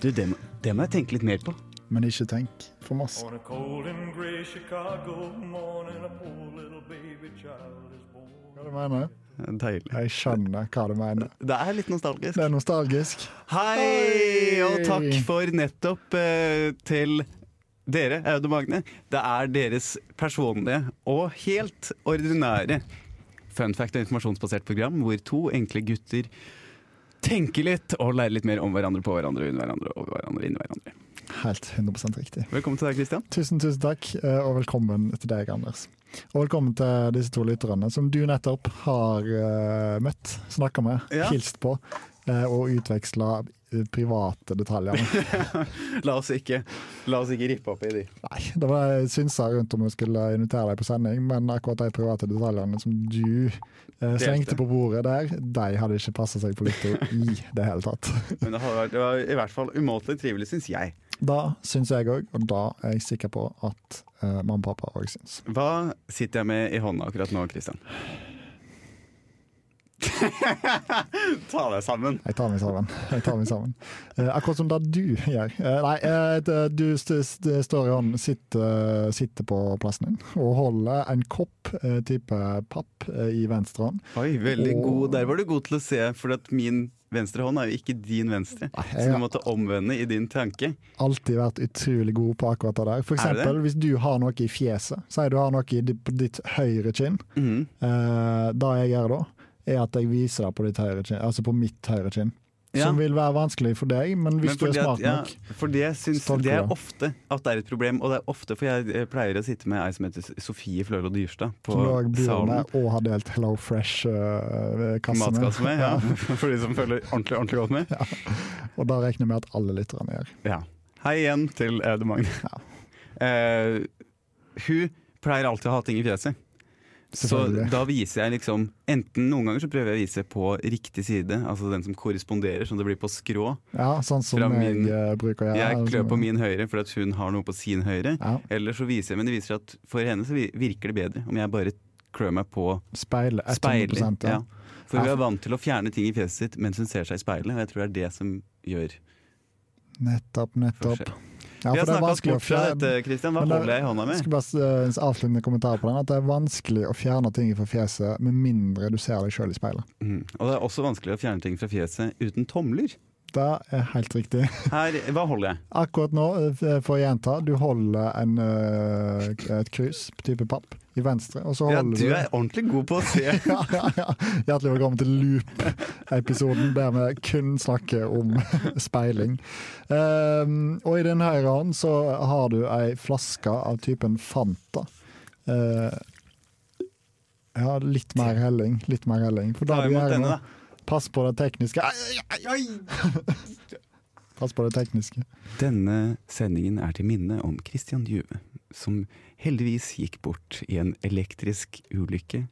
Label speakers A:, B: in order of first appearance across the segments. A: Du, det, må- det må jeg tenke litt mer på.
B: Men ikke tenk for masse.
C: On a cold and gray Chicago morning, a poor little baby child is born.
B: Hva du mener?
A: Deilig.
B: Jeg skjønner hva du mener.
A: Det er litt nostalgisk.
B: Det er nostalgisk.
A: Hei, og takk
B: Hei.
A: for nettopp eh, til dere, Aud og Magne. Det er deres personlige og helt ordinære fun fact- og informasjonsbasert program hvor to enkle gutter tenker litt og lærer litt mer om hverandre, på hverandre, under hverandre, over hverandre, inni hverandre.
B: Helt 100 riktig.
A: Velkommen til deg, Kristian.
B: Tusen, tusen takk, eh, og velkommen til deg, Anders. Og velkommen til disse to lytterne som du nettopp har eh, møtt, snakka med,
A: Ja.
B: hilst på eh, og utveksla private detaljer med.
A: La oss ikke, la oss ikke rippe opp i de.
B: Nei, det var synsa rundt om jeg skulle invitere deg på sending, men akkurat de private detaljene som du eh, slengte på bordet der, de hadde ikke passa seg på lytter i det hele tatt.
A: Men det har vært det var i hvert fall umåtelig trivelig, syns jeg.
B: Da syns jeg òg, og da er jeg sikker på at eh, mamma og pappa òg syns.
A: Hva sitter jeg med i hånda akkurat nå, Kristian? Ta deg sammen.
B: Jeg tar meg sammen. Jeg tar meg sammen. Eh, akkurat som det du gjør. Eh, nei, eh, det- du st st står i hånden, sitter, sitter på plassen din og holder en kopp eh, type papp eh, i venstre hånd.
A: Oi, veldig
B: Og-
A: god. Der var du god til å se, for at min venstre hånd er jo ikke din venstre.
B: jeg-
A: Så du måtte omvende i din tanke.
B: Alltid vært utrolig god på akkurat det der. For
A: Er det
B: eksempel hvis du har noe i fjeset. Si du har noe i di- på ditt høyre kinn.
A: Mhm.
B: Eh, det jeg gjør da, er at jeg viser det på, ditt høyre kinn, altså på mitt høyre kinn.
A: Ja.
B: Som vil være vanskelig for deg, men hvis
A: Men
B: du er
A: fordi at-
B: smart
A: ja,
B: nok
A: for det, syns,
B: Stolker
A: det er
B: du.
A: ofte at det er et problem, og det er ofte, for jeg eh, pleier å sitte med ei som heter Sofie Flølo Dyrstad på
B: Som du òg bor
A: salen.
B: med og har delt Hello eh, Fresh-kasse
A: Matkasse med, ja. For de som følger ordentlig, ordentlig godt med.
B: Og da regner jeg med at alle lytterne gjør.
A: Ja. Hei igjen til Aude Magne. Eh, hun pleier alltid å ha ting i fjeset. Så
B: Selvfølgelig.
A: da viser jeg liksom Enten noen ganger så prøver jeg å vise på riktig side, altså den som korresponderer, så det blir på skrå.
B: Ja, sånn som
A: Fra min-
B: jeg eh, bruker å gjøre.
A: Jeg klør på min høyre fordi at hun har noe på sin høyre.
B: Ja.
A: Eller så viser jeg, men det viser at for henne så vi- virker det bedre om jeg bare klør meg på
B: Speil, 100
A: speilet.
B: ja.
A: Ja. For hun er vant til å fjerne ting i fjeset sitt mens hun ser seg i speilet, og jeg tror det er det som gjør
B: Nettopp, nettopp.
A: forskjell.
B: Ja,
A: Vi
B: for
A: har
B: det er
A: snakka oss
B: vanskelig å
A: bort fra
B: fjerne
A: dette, Christian. Hva
B: Men det-
A: holder jeg i hånda
B: jeg
A: med?
B: skal bare eh, avslutte kommentar på den, at det er vanskelig å fjerne ting fra fjeset med mindre du ser deg sjøl i speilet.
A: Mm. Og det er også vanskelig å fjerne ting fra fjeset uten tomler.
B: Det er helt riktig.
A: Her, hva holder jeg?
B: Akkurat nå, eh, for å gjenta, du holder en, eh, et krus, type papp, i venstre, og så
A: Ja,
B: holder
A: du er ordentlig god på å se.
B: ja, ja, ja. Hjertelig velkommen til Loop-episoden, der vi kun snakker om speiling. Ehm, og i din høyre hånd så har du ei flaske av typen Fanta. Eh, ja, litt mer helling, litt mer helling. For
A: Ta
B: da du
A: imot
B: gjør
A: denne,
B: nå,
A: da.
B: pass på det tekniske. Ai, ai, ai, ai. Pass på det tekniske.
A: Denne sendingen er til minne om Christian Juve, som heldigvis gikk bort i en elektrisk ulykke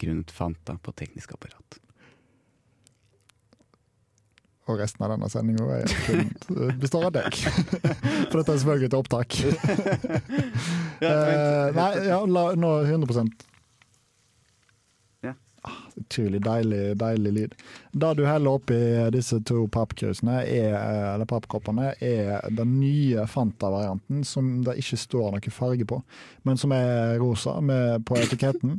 A: grunnet Fanta på teknisk apparat.
B: Og resten av denne sendinga eh, består av deg. For dette er selvfølgelig et opptak. Eh, nei, ja, la, nå 100
A: Ja.
B: Ah, Utrolig deilig, deilig lyd. Det du heller oppi disse to pappkrusene, er, eh, eller pappkoppene, er den nye Fanta-varianten som det ikke står noe farge på, men som er rosa med, på etiketten.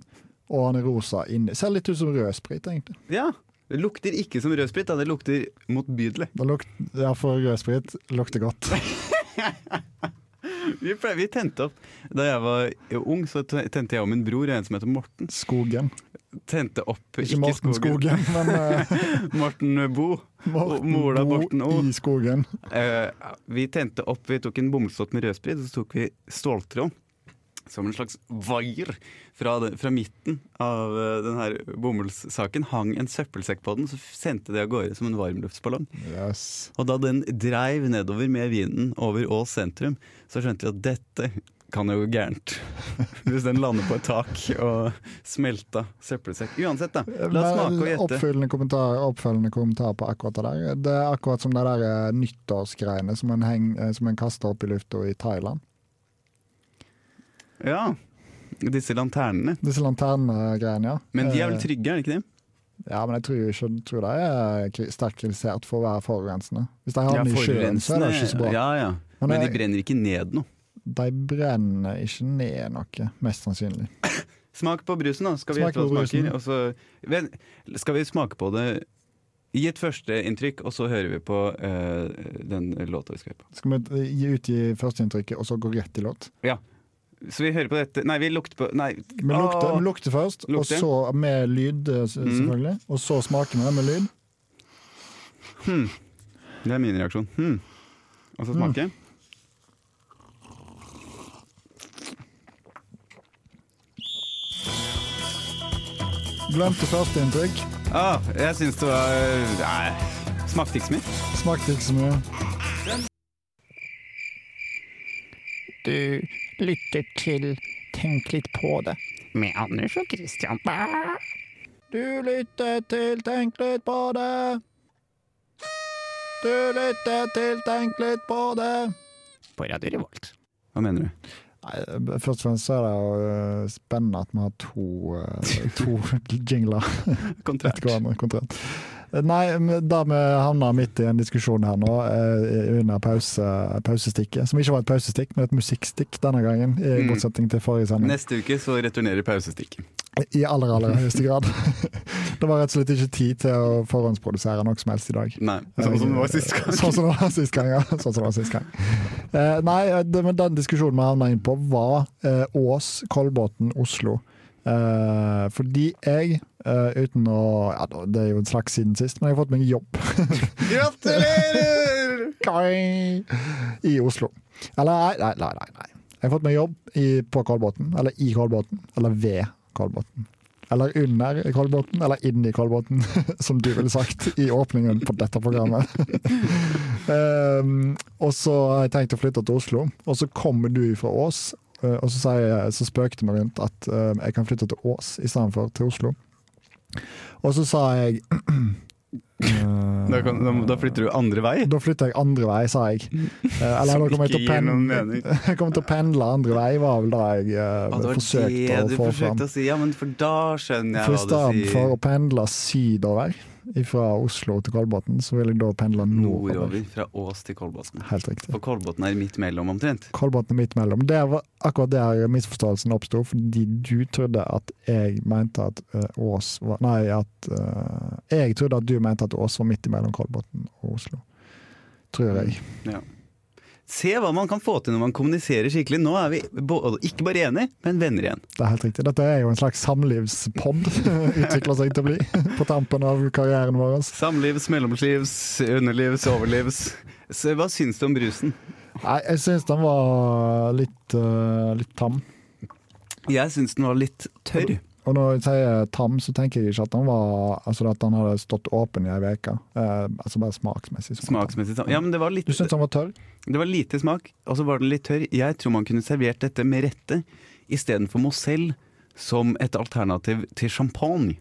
B: Og han er rosa inni. Ser litt ut som rødsprit, egentlig.
A: ja. Det lukter ikke som rødsprit, da. det lukter motbydelig.
B: Det lukter, ja, for rødsprit lukter godt.
A: Vi, ple- vi tente opp Da jeg var eh, ung, så te- tente jeg og min bror, en som heter Morten,
B: Skogen.
A: tente opp
B: Ikke Morten Skogen, men eh,
A: Morten Bo. Og
B: Morten,
A: Mola
B: Bo
A: Morten O.
B: i skogen.
A: Eh, vi tente opp, vi tok en bomullsdott med rødsprit, og så tok vi ståltråd. Som en slags vaier fra, det- fra midten av eh, den her bomullssaken hang en søppelsekk på den, så f- sendte det av gårde som en varmluftsballong.
B: Yes.
A: Og da den dreiv nedover med vinden over Ås sentrum, så skjønte vi at dette kan jo gå gærent. Hvis den lander på et tak og smelta søppelsekk. Uansett, da. La oss
B: Men
A: smake og gjette.
B: Oppfølgende kommentar, oppfølgende kommentar på akkurat det der. Det er akkurat som det der eh, nyttårsgreiene som en, heng, eh, som en kaster opp i lufta i Thailand.
A: Ja. Disse lanternene.
B: Disse lanternegreiene, ja.
A: Men de er vel
B: Eh,
A: trygge, er de ikke det?
B: Ja, men jeg tror, ikke, tror det er kri- sterkt kritisert for å være forurensende. Hvis de har
A: Ja,
B: den i sjøen, så er det ikke så
A: forurensende.
B: bra.
A: Ja, ja.
B: Men
A: Men de
B: jeg-
A: brenner ikke ned noe.
B: De brenner ikke ned noe, mest sannsynlig.
A: Smak på brusen, da. Skal vi
B: Smak
A: gjette hva
B: på
A: det smaker?
B: brusen.
A: Og så, vel, skal vi smake på det Gi et førsteinntrykk, og så hører vi på eh, den låta vi skal høre på.
B: Skal vi gi utgi førsteinntrykket, og så gå rett i låt?
A: Ja. Så vi hører på dette Nei, vi lukter på Nei.
B: Vi lukter,
A: Åh!
B: vi lukter først,
A: Lukter.
B: og så med lyd, eh, s- selvfølgelig. Og så smaker vi det med lyd.
A: Det er min reaksjon. Hmm. Og så
B: Hm.
A: smake.
B: Glemte førsteinntrykk.
A: Ah, jeg syns det var Nei, smakte ikke så mye.
B: Smakte ikke så mye.
D: Du lytter til Tenk litt på det.
E: med Anders og Christian.
B: Du lytter til Tenk litt på det. Du lytter til Tenk litt på det.
E: På Radio Revolt.
A: Hva mener du?
B: Nei, b- Først og fremst så er det jo eh, spennende at vi har to, eh, to jingler
A: Kontrært.
B: etter hverandre. kontrant. Eh, Nei, men da vi havna midt i en diskusjon her nå, eh, under pause, pausestikket, som ikke var et pausestikk, men et musikkstikk denne gangen, i
A: Mm.
B: motsetning til forrige sending.
A: Neste uke så returnerer pausestikket.
B: I aller, aller høyeste grad. det var rett og slett ikke tid til å forhåndsprodusere noe som helst i dag.
A: Nei, sånn som det var sist gang.
B: Sånn som det var sist gang, ja. Sånn som det var sist gang. Eh, nei, det, men den diskusjonen vi havna inn på, var eh, Ås, Kolbotn, Oslo. Eh, fordi jeg, eh, uten å ja, Det er jo en slags siden sist, men jeg har fått meg jobb.
A: Gratulerer!
B: Kai! I Oslo. Eller nei, nei, nei. nei, nei. Jeg har fått meg jobb i, på Kolbotn. Eller i Kolbotn. Eller ved Kolbotn. Eller under Kolbotn, eller inn i Kolbotn, som du ville sagt i åpningen på dette programmet. um, og så har jeg tenkt å flytte til Oslo, og så kommer du fra Ås. eh, Og så, sier, så spøkte vi rundt at eh, jeg kan flytte til Ås istedenfor til Oslo. Og så sa jeg
A: Da, kan, da, da flytter du andre vei.
B: da flytter jeg andre vei, sa jeg.
A: Mm.
B: Eh, Eller
A: Som
B: da kommer jeg til
A: ikke
B: å
A: gir noen
B: pendle
A: mening.
B: Jeg kommer til å pendle andre vei, var vel det jeg eh,
A: Ah, det var
B: forsøkte
A: det
B: å
A: du
B: få fram.
A: forsøkte å si. Ja, men for da skjønner
B: For i
A: jeg hva du
B: stedet
A: sier.
B: for å pendle sydover fra Oslo til Kolbotn, så vil jeg da pendle nordover.
A: Nordover fra Ås til Kolbotn.
B: Helt riktig.
A: For Kolbotn er midt mellom omtrent.
B: Kolbotn er midt mellom. Det var akkurat der misforståelsen oppsto, fordi du trodde at jeg mente at eh, Ås var Nei, at eh, jeg trodde at du mente at Ås var midt imellom Kolbotn og Oslo. Tror jeg.
A: Se hva man kan få til når man kommuniserer skikkelig. Nå er vi både, ikke bare enige, men venner igjen.
B: Det er helt riktig. Dette er jo en slags samlivspod, utvikler seg til å bli, på tampen av karrieren vår.
A: Samlivs, mellomlivs, underlivs, overlivs. Så hva syns du om brusen?
B: Nei, jeg syns den var litt, eh, litt tam.
A: Jeg syns den var litt tørr.
B: Og når jeg sier tam, så tenker jeg ikke at den, var, altså at den hadde stått åpen i ei uke. Eh, altså bare smaksmessig. så var den tam.
A: Smaksmessig sam- Ja, men det var, litt,
B: Du syns den var tørr?
A: det var lite smak, og så var den litt tørr. Jeg tror man kunne servert dette med rette istedenfor Mozell som et alternativ til champagne.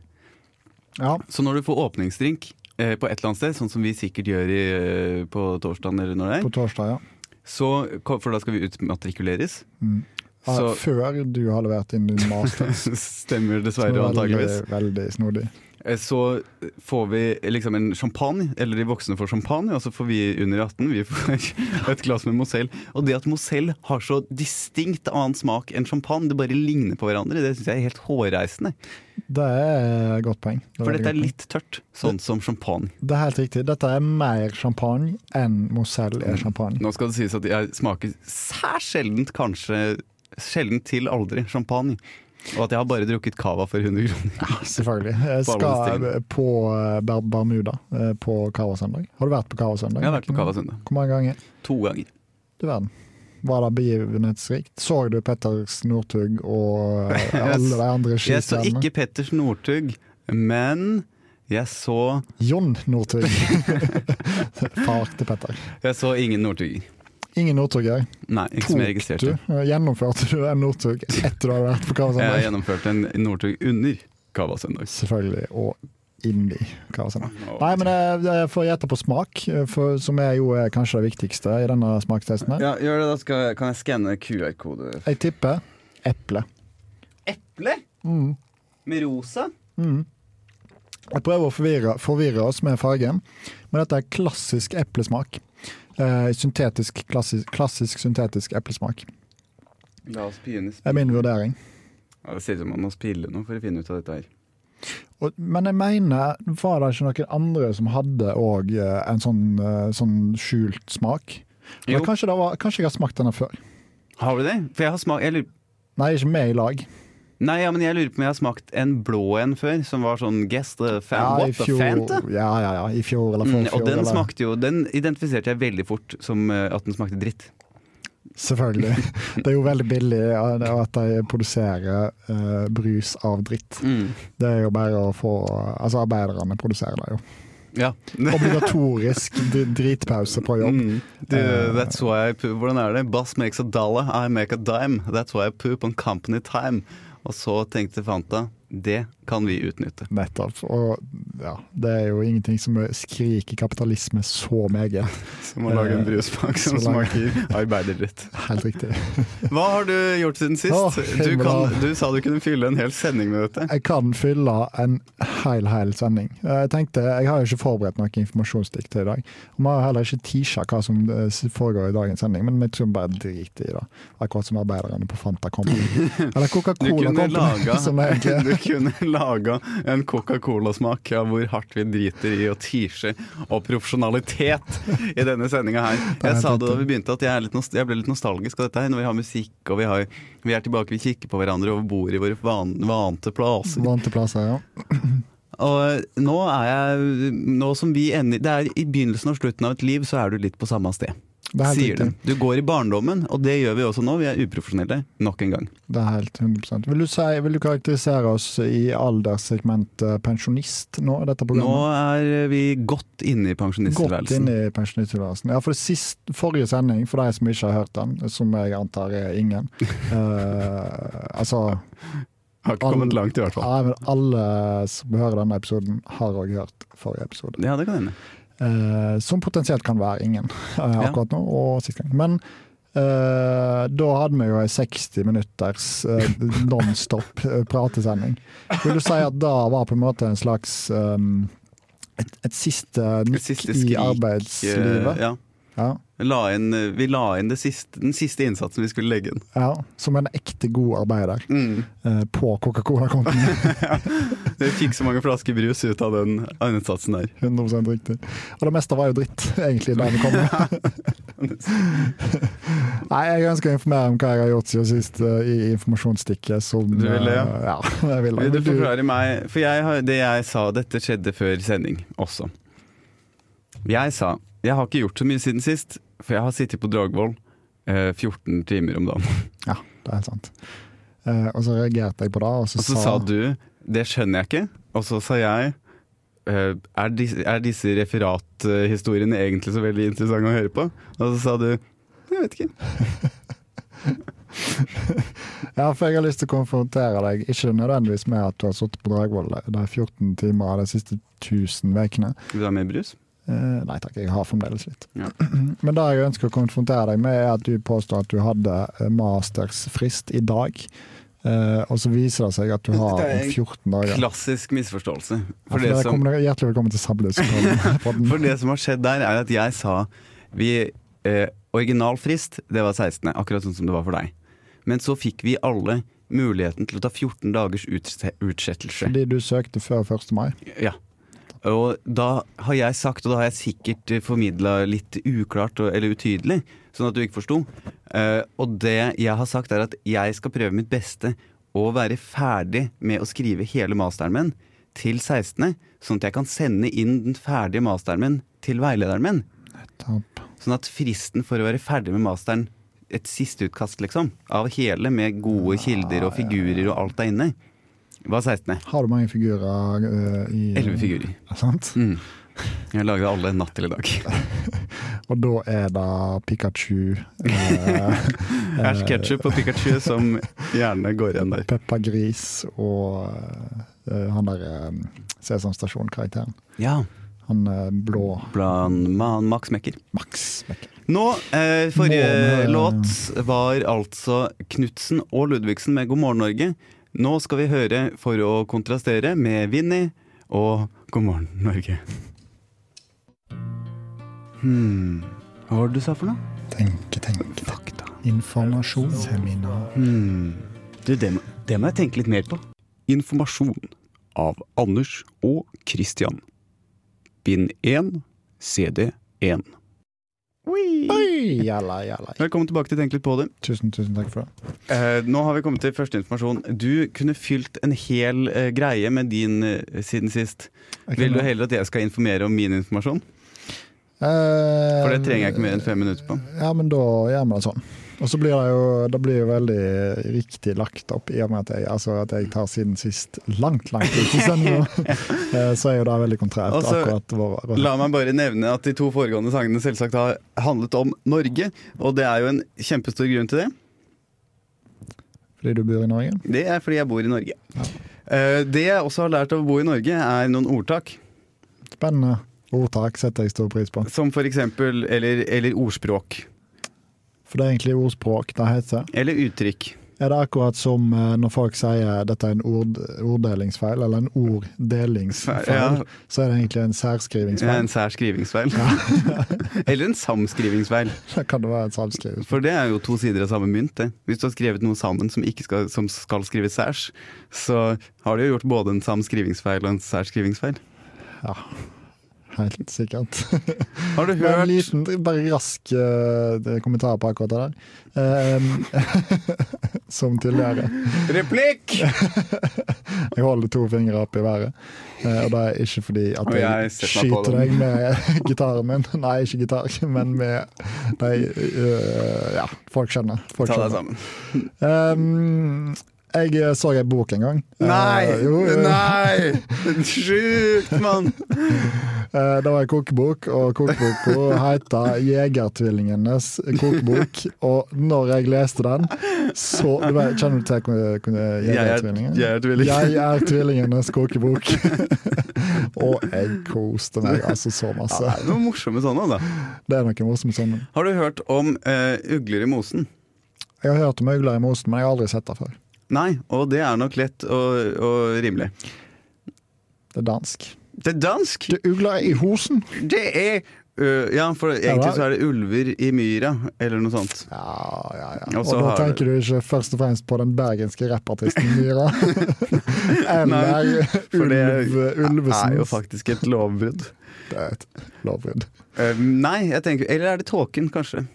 B: Ja.
A: Så når du får åpningsdrink eh, på et eller annet sted, sånn som vi sikkert gjør i, eh, på torsdagen eller når det er,
B: På torsdag, ja.
A: så, for da skal vi utmatrikuleres.
B: Mm. Ja,
A: Så-
B: Før du har levert inn din master.
A: Stemmer
B: som
A: dessverre,
B: er
A: antageligvis.
B: veldig, veldig snodig.
A: Eh, Så får vi liksom en champagne, eller de voksne får champagne, og så får vi under 18 vi får et glass med Mozell. Og det at Mozell har så distinkt annen smak enn champagne, det bare ligner på hverandre, det syns jeg er helt hårreisende.
B: Det er et godt poeng. Det
A: For
B: veldig
A: dette er
B: godt poeng.
A: litt tørt, sånn som champagne.
B: Det er helt riktig. Dette er mer champagne enn Mozell
A: Mm.
B: er champagne.
A: Nå skal det sies at jeg smaker særs sjeldent, kanskje sjelden til aldri, champagne. Og at jeg har bare drukket cava for 100 kroner.
B: Selvfølgelig. Jeg
A: På alle disse
B: skal på eh, Bar- Bermuda eh, på Cava-søndag. Har du vært på Cava-søndag?
A: Jeg har vært på cava søndag.
B: Hvor mange ganger?
A: To ganger.
B: Du verden. Var det begivenhetsrikt? Så du Petter Northug og eh, alle de andre
A: Jeg så
B: skistjernene?
A: ikke Petters Northug, men jeg så
B: Jon Northug! Far til Petter.
A: Jeg så ingen Northug.
B: Ingen Northuger.
A: Nei, ikke som jeg
B: Tok du?
A: registrerte.
B: eh, Gjennomførte du en Northug etter du hadde vært på
A: Jeg
B: Cava-søndag?
A: gjennomførte en Northug under Cava-søndag.
B: Selvfølgelig. Og inn i Cava-søndag. Nei, men jeg, jeg får gjette på smak, eh, for, som er jo eh, kanskje det viktigste i denne smakstesten. her.
A: Ja, gjør det, da skal, jeg- kan jeg skanne QR-kode.
B: Jeg tipper eple.
A: Eple? Med rosa?
B: Mm. Jeg prøver å forvirre, forvirre oss med fargen, men dette er klassisk eplesmak. Eh, syntetisk, klassisk, klassisk syntetisk eplesmak.
A: La oss begynne.
B: er min vurdering.
A: Ja, det ser ut som man må spille noe for å finne ut av dette her.
B: Og, men jeg mener, var det ikke noen andre som hadde òg eh, en sånn, eh, sånn skjult smak? Men
A: Jo.
B: kanskje, det var, kanskje jeg har smakt denne før?
A: Har du det? For jeg har smak... Jeg lurer...
B: Nei, ikke med i lag.
A: Nei, ja, men jeg lurer på om jeg har smakt en blå en før, som var sånn guess the fan.
B: Ja, i
A: What the
B: fjor,
A: fanta?
B: ja, ja, ja, i fjor eller
A: Mm,
B: forfjor.
A: og den
B: eller-
A: smakte jo Den identifiserte jeg veldig fort som eh, at den smakte dritt.
B: Selvfølgelig. Det er jo veldig billig ja, det er at de produserer eh, brus av dritt.
A: Mm.
B: Det er jo bare å få Altså, arbeiderne produserer det jo.
A: Ja.
B: Obligatorisk dri- dritpause på jobb.
A: Mm. Du, that's why I poop. Hvordan er det? Boss makes a dollar, I make a dime. That's why I poop on company time. Og så tenkte Fanta det kan vi utnytte.
B: Nettopp. Og ja, det er jo ingenting som skriker kapitalisme så meget.
A: Så må lage en bruspakke som
B: Så lage-
A: smaker arbeiderdritt.
B: Helt riktig.
A: Hva har du gjort siden
B: Åh,
A: sist? Du, kan, du sa du kunne fylle en hel sending med dette.
B: Jeg kan fylle en hel, hel sending. Jeg tenkte, jeg har jo ikke forberedt noe informasjonsdikt til i dag. Og vi har heller ikke teaset hva som eh, foregår i dagens sending, men vi tror bare drit i det. Akkurat som arbeiderne på Fanta Company. Eller
A: Du
B: Coca-Cola
A: kunne
B: Company,
A: laga,
B: som det egentlig
A: du kunne laga en Coca-Cola-smak av hvor hardt vi driter i å tease og profesjonalitet i denne sendinga her.
B: er
A: Jeg sa
B: helt
A: det da vi begynte at jeg, er litt nost- jeg ble litt nostalgisk av dette her. Når vi har musikk og vi, har, vi er tilbake, vi kikker på hverandre og bor i våre van, vante plasser.
B: vant til plass her, ja.
A: Og eh, nå er jeg Nå som vi ender Det er i begynnelsen og slutten av et liv, så er du litt på samme sted.
B: Det er helt
A: Sier de.
B: riktig.
A: Du går i barndommen, og det gjør vi også nå. Vi er uprofesjonelle nok en gang.
B: Det er helt 100 Vil du, si, vil du karakterisere oss i alderssegmentet pensjonist nå, i dette
A: Nå
B: programmet?
A: er vi godt inne i
B: Godt
A: pensjonisttilværelsen.
B: inn i pensjonisttilværelsen. Ja, for det sist, forrige sending, for de som ikke har hørt den, som jeg antar er ingen eh, Altså
A: Har ikke kommet langt, i hvert fall.
B: Nei, men alle som hører denne episoden, har òg hørt forrige episode.
A: Ja, det kan hende.
B: Eh, som potensielt kan være ingen eh, akkurat nå, og sist gang. Men eh, da hadde vi jo ei 60 minutters eh, nonstop eh, pratesending. Vil du si at da var på en måte en slags eh, et, et siste
A: Et
B: nytt
A: siste
B: i
A: skrik. eh,
B: arbeidslivet?
A: Ja.
B: Ja.
A: La inn, eh, vi la inn det siste, den siste innsatsen vi skulle legge inn.
B: ja. Som en ekte god arbeider
A: Mm.
B: eh, på Coca-Cola-kontoen.
A: Vi fikk så mange flasker brus ut av den innsatsen der.
B: 100 riktig. Og det meste var jo dritt, egentlig, da vi kom. Nei, jeg ønsker å informere om hva jeg har gjort siden sist eh, i informasjonsstikket. Som,
A: Du vil det, ja?
B: eh, ja, jeg vil det.
A: Vil du
B: Men du-
A: forklare meg For jeg har, det jeg sa, dette skjedde før sending også. Jeg sa jeg har ikke gjort så mye siden sist, for jeg har sittet på Dragvoll eh, 14 timer om dagen.
B: Ja, det er helt sant. Eh, og så reagerte jeg på det, og så,
A: Og så sa du 'det skjønner jeg ikke', og så sa jeg «Eh, er disse, er disse referathistoriene egentlig så veldig interessante å høre på? Og så sa du jeg vet ikke.
B: Ja, for jeg har lyst til å konfrontere deg, ikke nødvendigvis med at du har sittet på Dragvoll de 14 timer av de siste 1000 ukene.
A: Vil du ha mer brus?
B: Eh, nei takk, jeg har fremdeles litt.
A: Ja.
B: Men det jeg ønsker å konfrontere deg med, er at du påstår at du hadde eh, mastersfrist i dag. Eh, og så viser det seg at du har
A: Dette er en
B: 14 dager.
A: Klassisk misforståelse.
B: Ja,
A: For det,
B: der
A: som,
B: kommer dere hjertelig velkommen til Sablus.
A: for det som har skjedd der, er at jeg sa vi, eh, Original frist, det var 16., akkurat sånn som det var for deg. Men så fikk vi alle muligheten til å ta 14 dagers utse- utsettelse.
B: Fordi du søkte før 1. mai.
A: Ja. Og da har jeg sagt, og da har jeg sikkert formidla litt uklart og- eller utydelig, sånn at du ikke forsto. Eh, og det jeg har sagt, er at jeg skal prøve mitt beste å være ferdig med å skrive hele masteren min til 16., sånn at jeg kan sende inn den ferdige masteren min til veilederen min.
B: Topp.
A: Sånn at fristen for å være ferdig med masteren, et siste utkast, liksom, av hele, med gode kilder og figurer og alt der inne, var 16.
B: Har du mange figurer eh, i
A: 11 figurer.
B: Ja, Sant?
A: Mm. Jeg lagde alle natt til i dag.
B: Og da er det Pikachu, eh,
A: Ash Ketchup og Pikachu som gjerne går igjen der.
B: eh, Peppa Gris og eh, han der eh, Sesam Stasjon-karakteren.
A: Ja,
B: Han eh, blå
A: blant man Max Mekker.
B: Max. Becker.
A: Nå, eh, forrige
B: Morgen, eh.
A: låt var altså Knutsen og Ludvigsen med God morgen Norge. Nå skal vi høre, for å kontrastere, med Vinni og god morgen, Norge. Hmm. Hva var det du sa for noe?
B: Tenke, tenke, tenke.
A: Fakta.
B: Informasjon. Seminar.
A: Hmm. Du, det må, det må jeg tenke litt mer på. Informasjon av Anders og Christian. Bind 1, CD 1.
B: Oi, jalla, jalla.
A: Velkommen tilbake til Tenk litt på det.
B: Tusen, tusen takk for det.
A: Eh, nå har vi kommet til første informasjon. Du kunne fylt en hel eh, greie med din eh, siden sist.
B: Jeg
A: Vil
B: kan-
A: du heller at jeg skal informere om min informasjon?
B: Eh,
A: For det trenger jeg ikke mer enn fem minutter på.
B: Ja, men da gjør vi det sånn. Og så blir det jo, det blir jo veldig riktig lagt opp, i og med at jeg, altså at jeg tar siden sist langt, langt ut i sendingen. Eh, så er jo det veldig kontrært.
A: Og så-
B: akkurat vår, vår.
A: La meg bare nevne at de to foregående sangene selvsagt har handlet om Norge. Og det er jo en kjempestor grunn til det.
B: Fordi du bor i Norge?
A: Det er fordi jeg bor i Norge. Eh, det jeg også har lært av å bo i Norge, er noen ordtak.
B: Spennende. Ordtak setter jeg stor pris på.
A: Som for eksempel Eller, eller ordspråk.
B: For det er egentlig ordspråk det heter.
A: Eller uttrykk.
B: Er det akkurat som eh, når folk sier dette er en ord, orddelingsfeil, eller en orddelingsfeil,
A: Ja.
B: så er det egentlig en særskrivingsfeil.
A: En sær skrivingsfeil. eller en samskrivingsfeil.
B: Da kan det være en samskrivingsfeil.
A: For det er jo to sider av samme mynt. Det. Hvis du har skrevet noe sammen som, ikke skal, som skal skrives særs, så har du jo gjort både en sam skrivingsfeil og en sær skrivingsfeil.
B: Ja, helt sikkert.
A: Har du
B: Bare
A: hørt
B: En liten, bare rask eh, kommentar på akkurat det der. Eh, som tidligere.
A: Replikk!
B: Jeg holder to fingre opp i været. Eh, og det er ikke fordi at
A: Og
B: jeg,
A: jeg setter meg på
B: skyter
A: den.
B: deg med gitaren min. Nei, ikke gitar, men med de eh, Ja, folk skjønner. Folk
A: Ta deg
B: skjønner.
A: sammen.
B: Um, jeg så ei bok en gang. Eh, jo, jo.
A: Nei! Sjukt, mann!
B: Eh, Det var en kokebok, og kokeboka heter 'Jegertvillingenes kokebok'. Og når jeg leste den, så du vet, Kjenner du til kon- kon- Jegertvillingen?
A: Jeg er- jeg er tvilling.
B: Jeg er tvillingenes kokebok. og jeg koste meg altså så
A: Det
B: masse.
A: er noe morsomme sånne, da.
B: Det er noe morsomt sånn.
A: Har du hørt om eh, ugler i mosen?
B: Jeg har hørt om Øgler i mosen, men jeg har aldri sett det før.
A: Nei, og det er nok lett og, og rimelig.
B: Det er dansk.
A: Det er dansk!
B: Du ugler i hosen!
A: Det er øh, Ja, for egentlig
B: var-
A: så er det ulver i myra, eller noe sånt.
B: Ja, ja, ja.
A: Og
B: Og,
A: så
B: da
A: har-
B: tenker du ikke først og fremst på den bergenske rappartisten Myra. Eller
A: For det
B: Ulv
A: er jo
B: Ulvesens
A: faktisk et lovbrudd.
B: Det er et lovbrudd.
A: Eh, nei, jeg tenker Eller er det tåken, kanskje?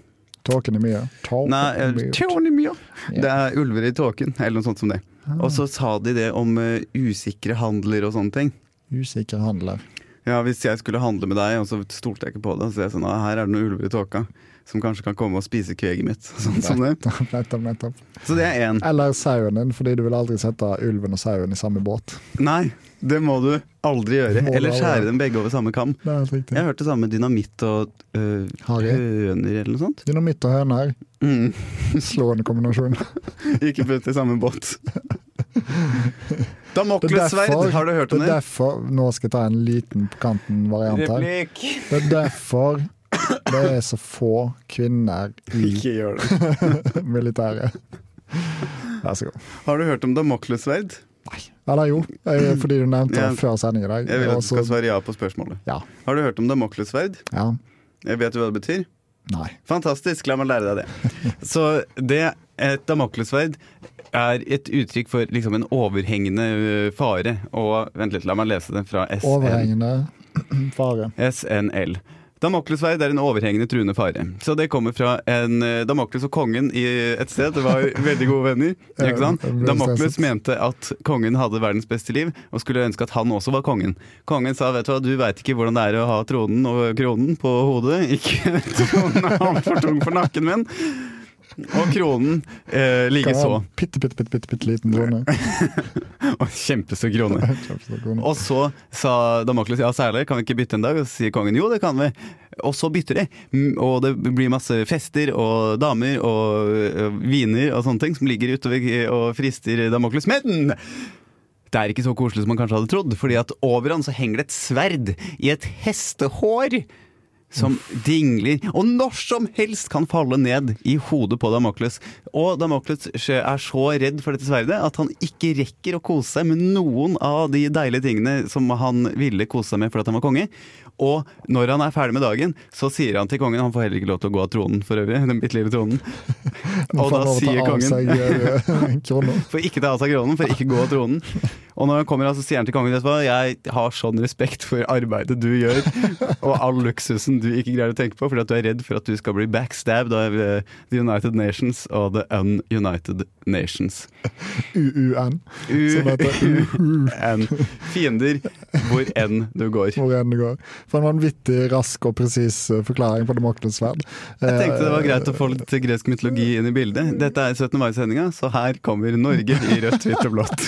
B: Tåken er mye. Tåken
A: Nei,
B: er
A: eh,
B: mye.
A: tåken i mye. Det er ulver i tåken, eller noe sånt som det.
B: Ah.
A: Og så sa de det om eh, usikre handler og sånne ting.
B: Usikker handler.
A: Ja, Hvis jeg skulle handle med deg, og så stolte jeg ikke på det, og så er jeg sånn «Ah, Her er det noen ulver i tåka som kanskje kan komme og spise kveget mitt. Sånn som det.
B: Nettopp, nettopp, nettopp.
A: Så det er én.
B: Eller sauen din, fordi du vil aldri sette ulven og sauen i samme båt.
A: Nei, det må du aldri gjøre.
B: Må du
A: Eller
B: aldri
A: skjære
B: gjøre.
A: dem begge over samme kam.
B: Det er helt riktig.
A: Jeg har hørt det samme med dynamitt og øh,
B: Harry.
A: høner eller noe sånt.
B: Dynamitt og høner,
A: Mm.
B: slående kombinasjon.
A: Ikke putt i samme båt.
B: Det er
A: Damoklessverd,
B: derfor-
A: har du hørt
B: Det
A: om
B: er
A: det?
B: derfor Nå skal jeg ta en liten på kanten variant her.
A: Replikk!
B: Det er derfor det er så få kvinner i
A: Ikke gjør det.
B: militæret. Vær så god.
A: Har du hørt om damoklessverd?
B: Eller jo, eh, fordi du nevnte
A: Ja.
B: det før sending i dag.
A: Jeg vil at
B: og
A: du
B: så-
A: skal svare ja på spørsmålet.
B: altså- Ja.
A: Har du hørt om damoklessverd?
B: ja.
A: Jeg vet du hva det betyr?
B: Nei.
A: Fantastisk, la meg lære deg det. Så det, et damoklessverd er et uttrykk for liksom en overhengende øh, fare. Og vent litt, la meg lese det fra SN.
B: Overhengende fare.
A: SNL. Damoklesverd er en overhengende truende fare. Så det kommer fra en eh, Damokles og kongen i et sted. Det var veldig gode venner. ikke sant?
B: Ja, det ble
A: Damokles
B: stresset.
A: mente at kongen hadde verdens beste liv, og skulle ønske at han også var kongen. Kongen sa vet du hva, du veit ikke hvordan det er å ha tronen og kronen på hodet. Ikke tronen er altfor tung for nakken min. Og kronen eh,
B: Kan
A: likeså.
B: være en Bitte, bitte, bitte, bitte, bitte liten drone.
A: Og Kjempestor krone.
B: Kjempestor
A: Og så sa Damokles ja, særlig, kan vi ikke bytte en dag? Og så sier kongen jo, det kan vi. Og så bytter de. Mm, Og det blir masse fester og damer og ø, viner og sånne ting som ligger utover og frister Damokles. Men det er ikke så koselig som man kanskje hadde trodd, fordi at over han så henger det et sverd i et hestehår. som dingler og når som helst kan falle ned i hodet på Damokles. Og Damokles er så redd for dette sverdet at han ikke rekker å kose seg med noen av de deilige tingene som han ville kose seg med fordi at han var konge. Og når han er ferdig med dagen, så sier han til kongen Han får heller ikke lov til å gå av tronen for øvrig. Den bitte lille tronen. Og da sier kongen
B: kongen Krona.
A: for ikke ta av seg kronen, for ikke gå av tronen. Og når han kommer, altså, sier han til kongen vet du hva, jeg har sånn respekt for arbeidet du gjør, og all luksusen du ikke greier å tenke på, fordi at du er redd for at du skal bli backstabbed av eh, The United Nations og The Un-United Nations.
B: UUN. Som heter
A: UN. Fiender hvor enn du går.
B: Hvor enn det går. For en vanvittig rask og presis eh, forklaring på Demokles sverd. Eh,
A: Jeg tenkte det var greit å få litt gresk mytologi inn i bildet. Dette er 17. mai-sendinga, så her kommer Norge i rødt, hvitt og blått.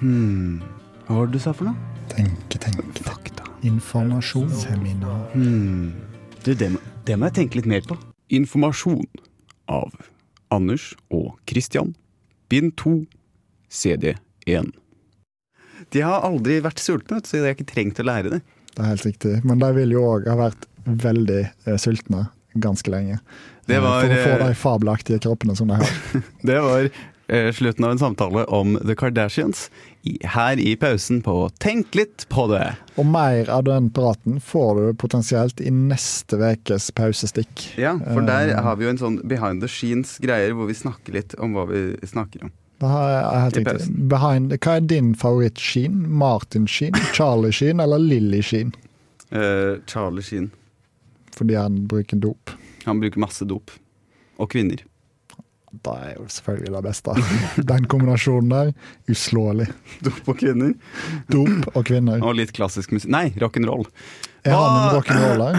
A: Hmm. Hva var det du sa for noe?
B: Tenke, tenke.
A: Fakta.
B: Informasjon. Seminar.
A: Hmm. Du, det, må- det må jeg tenke litt mer på.
F: Informasjon av Anders og Christian. Bind 2, CD 1.
A: De har aldri vært sultne, vet du, så de har ikke trengt å lære det.
B: Det er helt riktig. Men de vil jo òg ha vært veldig eh, sultne ganske lenge.
A: Det
B: Eh,
A: var,
B: For å få
A: eh,
B: de fabelaktige kroppene som de har.
A: Det var eh, slutten av en samtale om The Kardashians i, her i pausen på Tenk litt på det.
B: Og mer av den praten får du potensielt i neste ukes pausestikk.
A: Ja, for der har vi jo en sånn behind the scenes-greier hvor vi snakker litt om hva vi snakker om.
B: Det her er helt
A: I
B: riktig. Behind, hva er din favoritt-Sheen? Martin-Sheen, Charlie-Sheen eller Lilly-Sheen?
A: Eh, Charlie Sheen.
B: Fordi han bruker dop.
A: Han bruker masse dop. Og kvinner.
B: Det er jo selvfølgelig det beste. Den kombinasjonen der, uslåelig.
A: Dop og kvinner.
B: Dop og kvinner.
A: Og litt klassisk musikk. Nei, rock'n'roll.
B: Er han en
A: Hva-
B: rock'n'roller?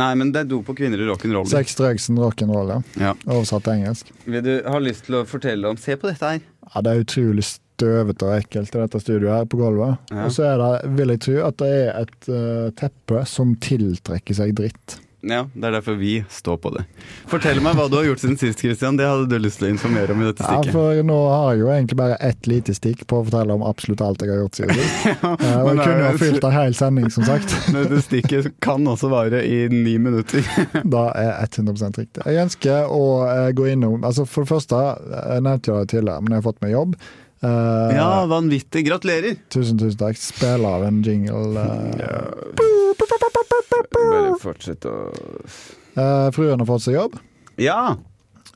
A: Nei, men det er dop og kvinner og rock'n'roll.
B: Sex, drugs and rock'n'roll, ja.
A: Ja.
B: Oversatt til engelsk.
A: Vil du ha lyst til å fortelle om Se på dette her.
B: Ja, det er utrolig støvete og ekkelt i dette studioet her på gulvet.
A: Ja.
B: Og så er det, vil jeg tro, at det er et eh, teppe som tiltrekker seg dritt.
A: Ja, Det er derfor vi står på det. Fortell meg hva du har gjort siden sist, Christian. Det hadde du lyst til å informere om i dette
B: Ja,
A: stikket.
B: for nå har jeg jo egentlig bare ett lite stikk på å fortelle om absolutt alt jeg har gjort siden sist. Eh, og
A: men
B: jeg
A: det er
B: kunne
A: jo-
B: jo fylt en hel sending, som sagt.
A: Men Dette stikket kan også vare i ni minutter.
B: Da er 100 riktig. Jeg ønsker å eh, gå innom altså For det første, eh, jeg nevnte jo det tidligere, men jeg har fått meg jobb. Eh,
A: Ja, vanvittig. Gratulerer!
B: Tusen, tusen takk. Spill av en jingle. eh.
A: Bare fortsett å
B: Eh, fruen har fått seg jobb,
A: Ja!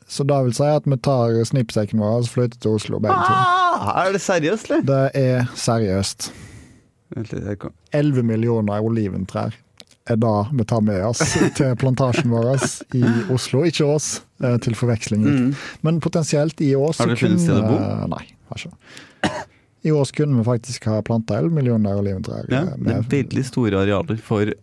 B: så da vil si at vi tar snippsekken vår og så flytter til Oslo begge to.
A: Ah, er det seriøst, eller?
B: Det er seriøst.
A: Vent litt, her kom
B: 11 millioner oliventrær er det vi tar med oss til plantasjen vår i Oslo. Ikke Ås, eh, til forveksling. Men potensielt i
A: Mm.
B: Ås
A: Har
B: så
A: du funnet sted å bo?
B: kunne- Nei, har ikke det. I Ås kunne vi faktisk ha planta 11 millioner oliventrær.
A: Ja,
B: eh,
A: det er
B: med
A: veldig store arealer for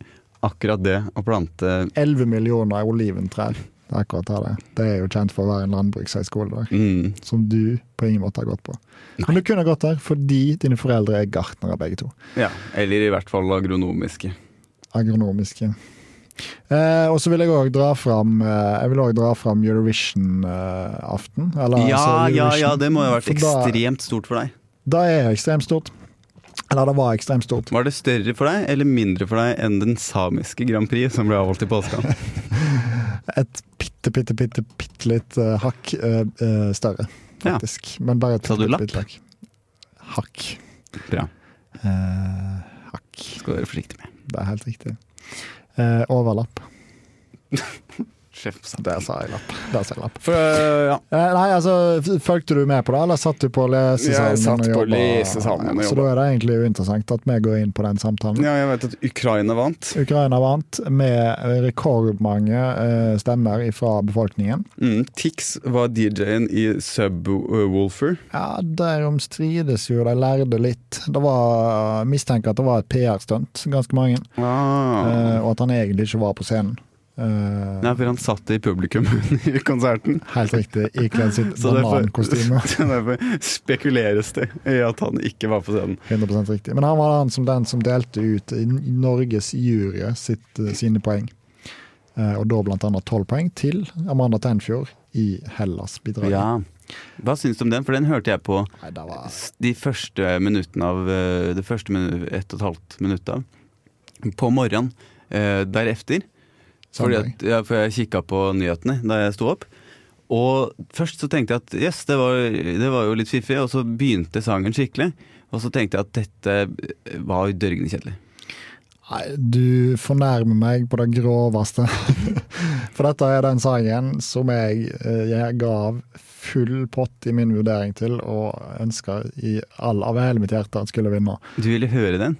A: akkurat det å plante
B: 11 millioner oliventrær. Det er akkurat det det. er. Det er jo kjent for å være en landbrukshøyskole der,
A: mm.
B: som du på ingen måte har gått på. Men du kunne ha gått der fordi dine foreldre er gartnere begge to.
A: Ja, eller i hvert fall agronomiske.
B: agronomiske. Eh, og så vil jeg òg dra fram eh, Jeg vil også dra fram eh, Eurovision-aften.
A: Ja, ja, ja, det må jo ha vært
B: altså For da,
A: ekstremt stort for deg.
B: da er det ekstremt stort. Eller det var ekstremt stort.
A: Var det større for deg eller mindre for deg enn den samiske Grand Prix som ble avholdt i påska?
B: Et bitte, bitte, bitte, bitte litt eh, hakk eh, eh, større,
A: Ja.
B: faktisk. Men bare et
A: Sa du
B: bitte,
A: lapp?
B: bitte hakk. Hakk.
A: Bra.
B: Eh, hakk.
A: Skal være forsiktig med.
B: Det er helt riktig. Eh, overlapp.
A: Sjef,
B: Der sa jeg lapp. Der sa jeg lapp.
F: For, ja.
B: Eh, nei, altså, f- Fulgte du med på det, eller satt du på lesesalen?
F: Jeg satt
B: og
F: på
B: jobba?
F: lesesalen og
B: Så da er det egentlig uinteressant at vi går inn på den samtalen.
F: jeg vet at Ukraina vant.
B: Ukraina vant med rekordmange eh, stemmer fra befolkningen.
F: Mm, Tix var DJ-en i Subwoolfer.
B: Ja, Derom strides jo, de lærde litt. Det var, mistenker at det var et PR-stunt, ganske mange.
A: Ah.
B: Eh, og at han egentlig ikke var på scenen. Eh,
A: Nei, for han satt i publikum under konserten.
B: helt riktig, ikledd sitt
A: Så derfor-
B: banankostyme.
A: Så derfor spekuleres det i at han ikke var på scenen.
B: 100 riktig. Men han var han som den som delte ut i Norges jury sitt, sine poeng. Eh, og da bl.a. tolv poeng til Amanda Tenfjord i Hellas-bidraget.
A: Hva syns du om den? For den hørte jeg på
B: Nei, det var
A: s- de første minuttene av eh, Det første minu- ett og et halvt minutt av. På morgenen. eh, derefter. Fordi
B: Samme dag.
A: at, ja, for jeg kikka på nyhetene da jeg sto opp. Og først så tenkte jeg at yes, det var, det var jo litt fiffig, og så begynte sangen skikkelig. Og så tenkte jeg at dette eh, var jo dørgende kjedelig.
B: Nei, du fornærmer meg på det groveste. For dette er den sangen som jeg, eh, jeg gav full pott i min vurdering til, og ønska i all, av hele mitt hjerte at skulle vinne.
A: Du ville høre den?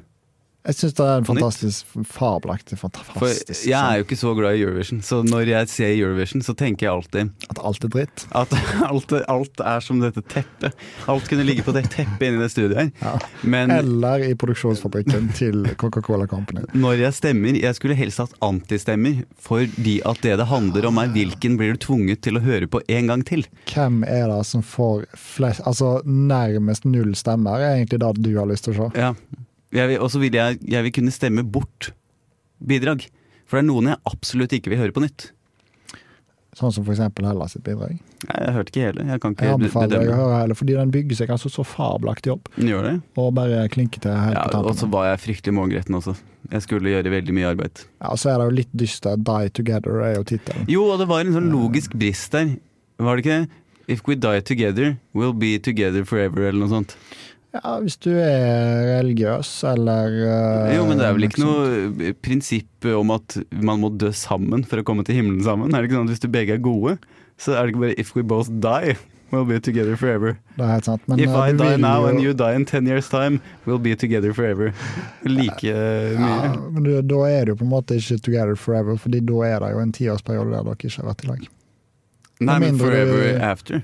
B: Jeg syns det er en
A: På nytt?
B: fantastisk, fabelaktig,
A: For
B: fantastisk
A: jeg
B: sang.
A: er jo ikke så glad i Eurovision, så når jeg ser Eurovision, så tenker jeg alltid
B: At alt er dritt.
A: at alt, alt er som dette teppet. Alt kunne ligge på det teppet inni det studioet her.
B: Ja.
A: Men
B: Eller i produksjonsfabrikken til Coca-Cola Company.
A: når jeg stemmer Jeg skulle helst hatt antistemmer, fordi at det det handler om, er hvilken blir du tvunget til å høre på en gang til.
B: Hvem er det som får flest Altså nærmest null stemmer, er egentlig det du har lyst til å se.
A: Ja. Jeg vil, og så vil jeg, jeg vil kunne stemme bort bidrag. For det er noen jeg absolutt ikke vil høre på nytt.
B: Sånn som for eksempel Hellas sitt bidrag.
A: Nei, Jeg hørte ikke hele. Jeg kan
B: Jeg
A: ikke be-
B: anbefaler deg å
A: bedømme.
B: høre heller, fordi den bygger seg altså så fabelaktig opp.
A: Gjør det?
B: Og bare klinke til helt
A: Ja,
B: på
A: og så
B: tampen.
A: var jeg fryktelig målgretten også. Jeg skulle gjøre veldig mye arbeid.
B: Ja, så er det jo litt dyster. 'Die Together' er jo tittelen.
A: Jo, og det var en sånn logisk brist der. Var det ikke det? If we die together, we'll be together forever, eller noe sånt.
B: Ja, hvis du er religiøs eller eh,
A: Jo, men det er vel ikke
B: liksom-
A: noe eh, prinsipp om at man må dø sammen for å komme til himmelen sammen? Er det ikke sånn at hvis du begge er gode, så er det ikke bare if we both die, we'll be together forever.
B: Det er helt sant. Men
A: If
B: eh,
A: I
B: du
A: die
B: vil
A: now
B: jo-
A: and you die in ten years time, we'll be together forever. Like eh, mye.
B: ja, men du, Da er det jo på en måte ikke 'together forever', Fordi da er det jo en tiårsperiode der dere ikke har vært i lag.
A: Nei, men
B: mindre du-
A: forever after.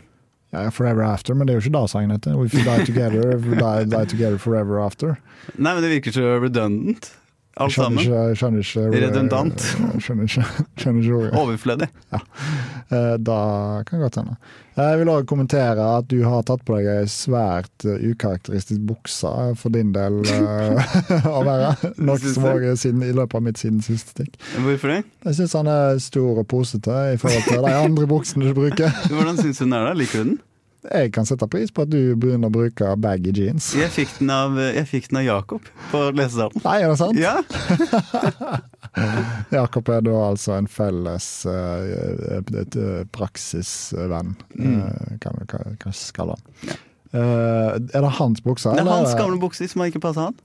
B: Ja, 'Forever After', men det er jo ikke det sangen heter. 'If you die together, if you die, die together forever after'.
A: Nei, men det virker så redundant.
B: Jeg
A: Alt sammen.
B: skjønner ikke, skjønner ikke
A: Redundant.
B: Skjønner ikke, skjønner ikke ordet.
A: Overflødig.
B: Eh, Da kan Eh, godt hende. Jeg vil òg kommentere at du har tatt på deg ei svært eh, ukarakteristisk bukse eh, for din del eh, å være. Noe
A: Syns
B: som
A: du?
B: òg er siden, i løpet av mitt siden siste stikk.
A: Hvorfor det?
B: Jeg syns han er stor og posete i forhold til de andre buksene du bruker.
A: Hvordan syns du den er, da? Liker du den?
B: Jeg kan sette pris på at du begynner å bruke baggy jeans.
A: Jeg fikk den av, jeg fikk den av Jakob på lesesalen.
B: Nei, er det sant?
A: Ja,
B: Jakob er da altså en felles eh, et, eh, praksisvenn,
A: Mm.
B: eh, kan vi ka- kanskje kalle han. Eh, er det hans bukser?
A: Det er
B: eller
A: hans
B: det-
A: gamle bukser som ikke passa han.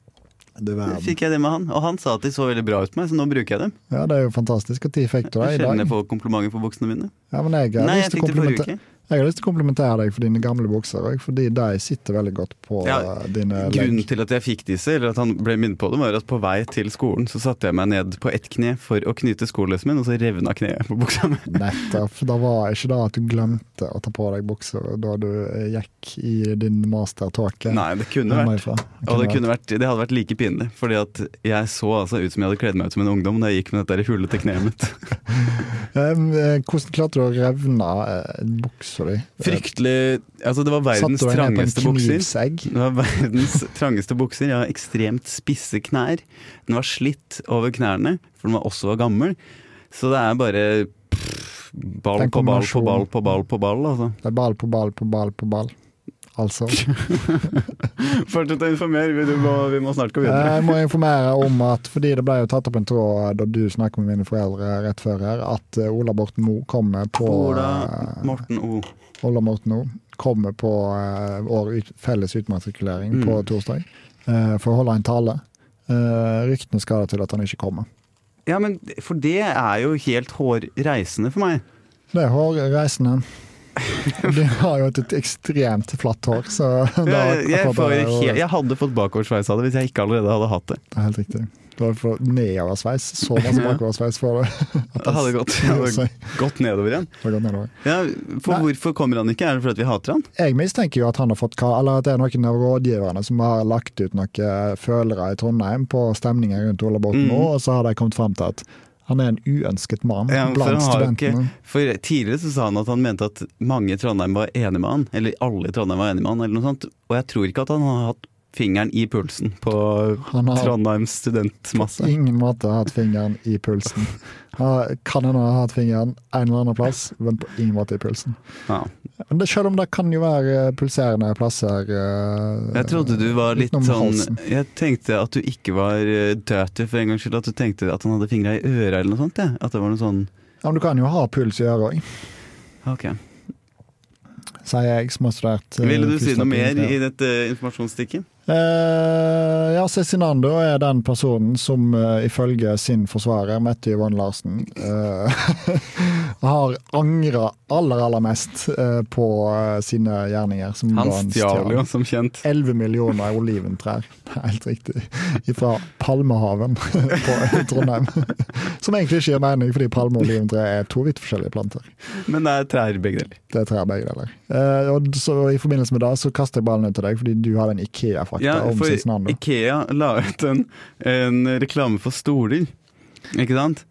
B: Det var-
A: Fikk jeg det med han Og han sa at de så veldig bra ut på meg, så nå bruker jeg dem.
B: Ja, det er jo fantastisk. Når fikk du det?
A: Jeg
B: I dag?
A: kjenner på komplimenter på buksene mine.
B: Ja, men jeg, har
A: Nei,
B: lyst
A: jeg
B: til å
A: fikk det forrige
B: komplimente-
A: uke.
B: jeg har lyst til å komplimentere deg for dine gamle bukser òg, fordi de sitter veldig godt på
A: Ja,
B: eh, dine
A: Grunnen
B: legg.
A: til at jeg fikk disse, eller at han ble minnet på dem, var at på vei til skolen så satte jeg meg ned på ett kne for å knyte skolelesen min, og så revna kneet på buksa mi.
B: Nettopp. Det var ikke da at du glemte å ta på deg bukser da du eh, gikk i din mastertåke.
A: Nei, det kunne vært Og det, kunne vært, det hadde vært like pinlig, fordi at jeg så altså ut som jeg hadde kledd meg ut som en ungdom da jeg gikk med dette der hullete kneet mitt.
B: eh, Hvordan klarte du å revne eh, buksa di? Eh,
A: Fryktelig Altså, det var verdens
B: Satte du deg ned på en
A: trangeste bukser.
B: knivsegg?
A: Det var verdens trangeste bukser. Jeg har ekstremt spisse knær. Den var slitt over knærne, for den var også var gammel. Så det er bare pff, ball
B: Den
A: på ball på
B: kombinasjonen.
A: ball på ball på ball, altså.
B: Det er ball på ball på ball på ball. Altså.
A: Fortsett å informere, vi må, snart gå
B: Eh, Jeg må informere om at fordi det ble jo tatt opp en tråd eh, da du snakket med mine foreldre rett før her, at eh, Ola Borten Moe kommer på
A: Ola
B: eh,
A: Morten O.
B: Ola Borten Moe kommer på eh, vår ut, felles utmatrikulering på torsdag eh, for å holde en tale. Eh, Ryktene skal da til at han ikke kommer.
A: Ja, men for det er jo helt hårreisende for meg.
B: Det er hårreisende. De har jo et ekstremt flatt hår, så det er
A: Jeg, jeg,
B: akkurat
A: får,
B: det er jo-
A: he- jeg hadde fått bakoversveis av det hvis jeg ikke allerede hadde hatt det.
B: Det er helt riktig. Du har fått nedoversveis. Så masse
A: Ja.
B: bakoversveis for det.
A: Det hadde gått, det hadde gått nedover igjen.
B: Det har gått nedover.
A: Ja, for
B: Nei.
A: hvorfor kommer han ikke? Er det fordi at vi hater han?
B: Jeg mistenker jo at han har fått ka- Eller at det er noen av rådgiverne som har lagt ut noen eh, følere i Trondheim på stemningen rundt Ola Borten
A: Mm.
B: Moe, og så har de kommet fram til at han er en uønsket mann
A: Ja, for, han
B: blant
A: har jo
B: studentene.
A: ikke, for Tidligere så sa han at han mente at mange i Trondheim var enig med han, eller alle i Trondheim var enig med han, eller noe sånt. Og jeg tror ikke at han har hatt fingeren i pulsen på
B: Han har-
A: Trondheims studentmasse.
B: Ingen måte har hatt fingeren i pulsen. Har- Kan hende har hatt fingeren en eller annen plass, men på ingen måte i pulsen.
A: Ja.
B: Men det, selv om det kan jo være eh, pulserende plasser eh,
A: Jeg trodde du var litt
B: utenom
A: sånn
B: halsen.
A: Jeg tenkte at du ikke var eh, dirty for en gangs skyld. At du tenkte at han hadde fingra i øra eller noe sånt. Ja. At det var noe sånn
B: Ja, men du kan jo ha puls i øret òg,
A: Ok.
B: sier jeg som har studert eh,
A: Ville du si noe mer
B: fysioterapi.
A: i dette informasjonsstikket?
B: Eh, ja, Cezinando er den personen som eh, ifølge sin forsvarer, Mette Yvonne Larsen, eh, har angra aller, aller mest eh, på eh, sine gjerninger. Som
A: Han
B: var en
A: stjal
B: stjerne.
A: jo, som kjent.
B: 11 millioner oliventrær, Det er helt riktig, fra Palmehaven på i Trondheim. Som egentlig ikke gir mening, fordi palme og oliventre er to vidt forskjellige planter.
A: Men det er trær begge deler.
B: Det er trær begge deler. Eh, og så I forbindelse med det så kaster jeg ballen ut til deg, fordi du har den Ikea-fakta
A: Ja,
B: om
A: for
B: Cezinando.
A: Ikea la ut en, en reklame for stoler, ikke sant?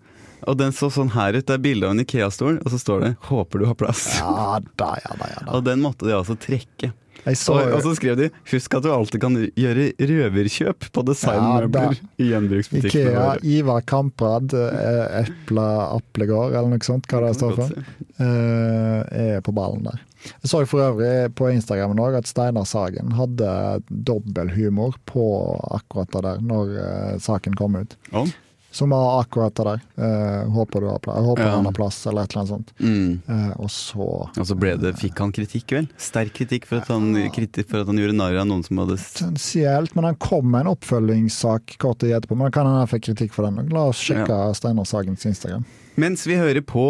A: Og den så sånn her ut. Det er bilde av en Ikea-stol, og så står det 'Håper du har plass'.
B: Ja da, ja da, ja da.
A: Og den måtte de altså trekke.
B: Jeg så,
A: og, og så skrev de 'Husk at du alltid kan gjøre røverkjøp på designmøbler i gjenbruksbutikkene
B: Ikea,
A: våre'.
B: Ivar Kamprad, eh, Epla Aplegård, eller noe sånt, hva det står for. eh, er på ballen der. Jeg så for øvrig på Instagramen også at Steinar Sagen hadde dobbelthumor på akkurat det der, når eh, saken kom ut.
A: Om?
B: Som var akkurat det der. Eh, håper du har plass, håper
A: Ja.
B: han har plass, eller et eller annet sånt.
A: Mm.
B: Eh, og så
A: Og så ble det, fikk han kritikk, vel? Sterk kritikk for at han, kriti- for at han gjorde narr av noen som hadde s-
B: Potensielt, men han kom med en oppfølgingssak kort tid etterpå. Men kan han ha fått kritikk for den? også. La oss sjekke Steinar Sagens Instagram.
A: Mens vi hører på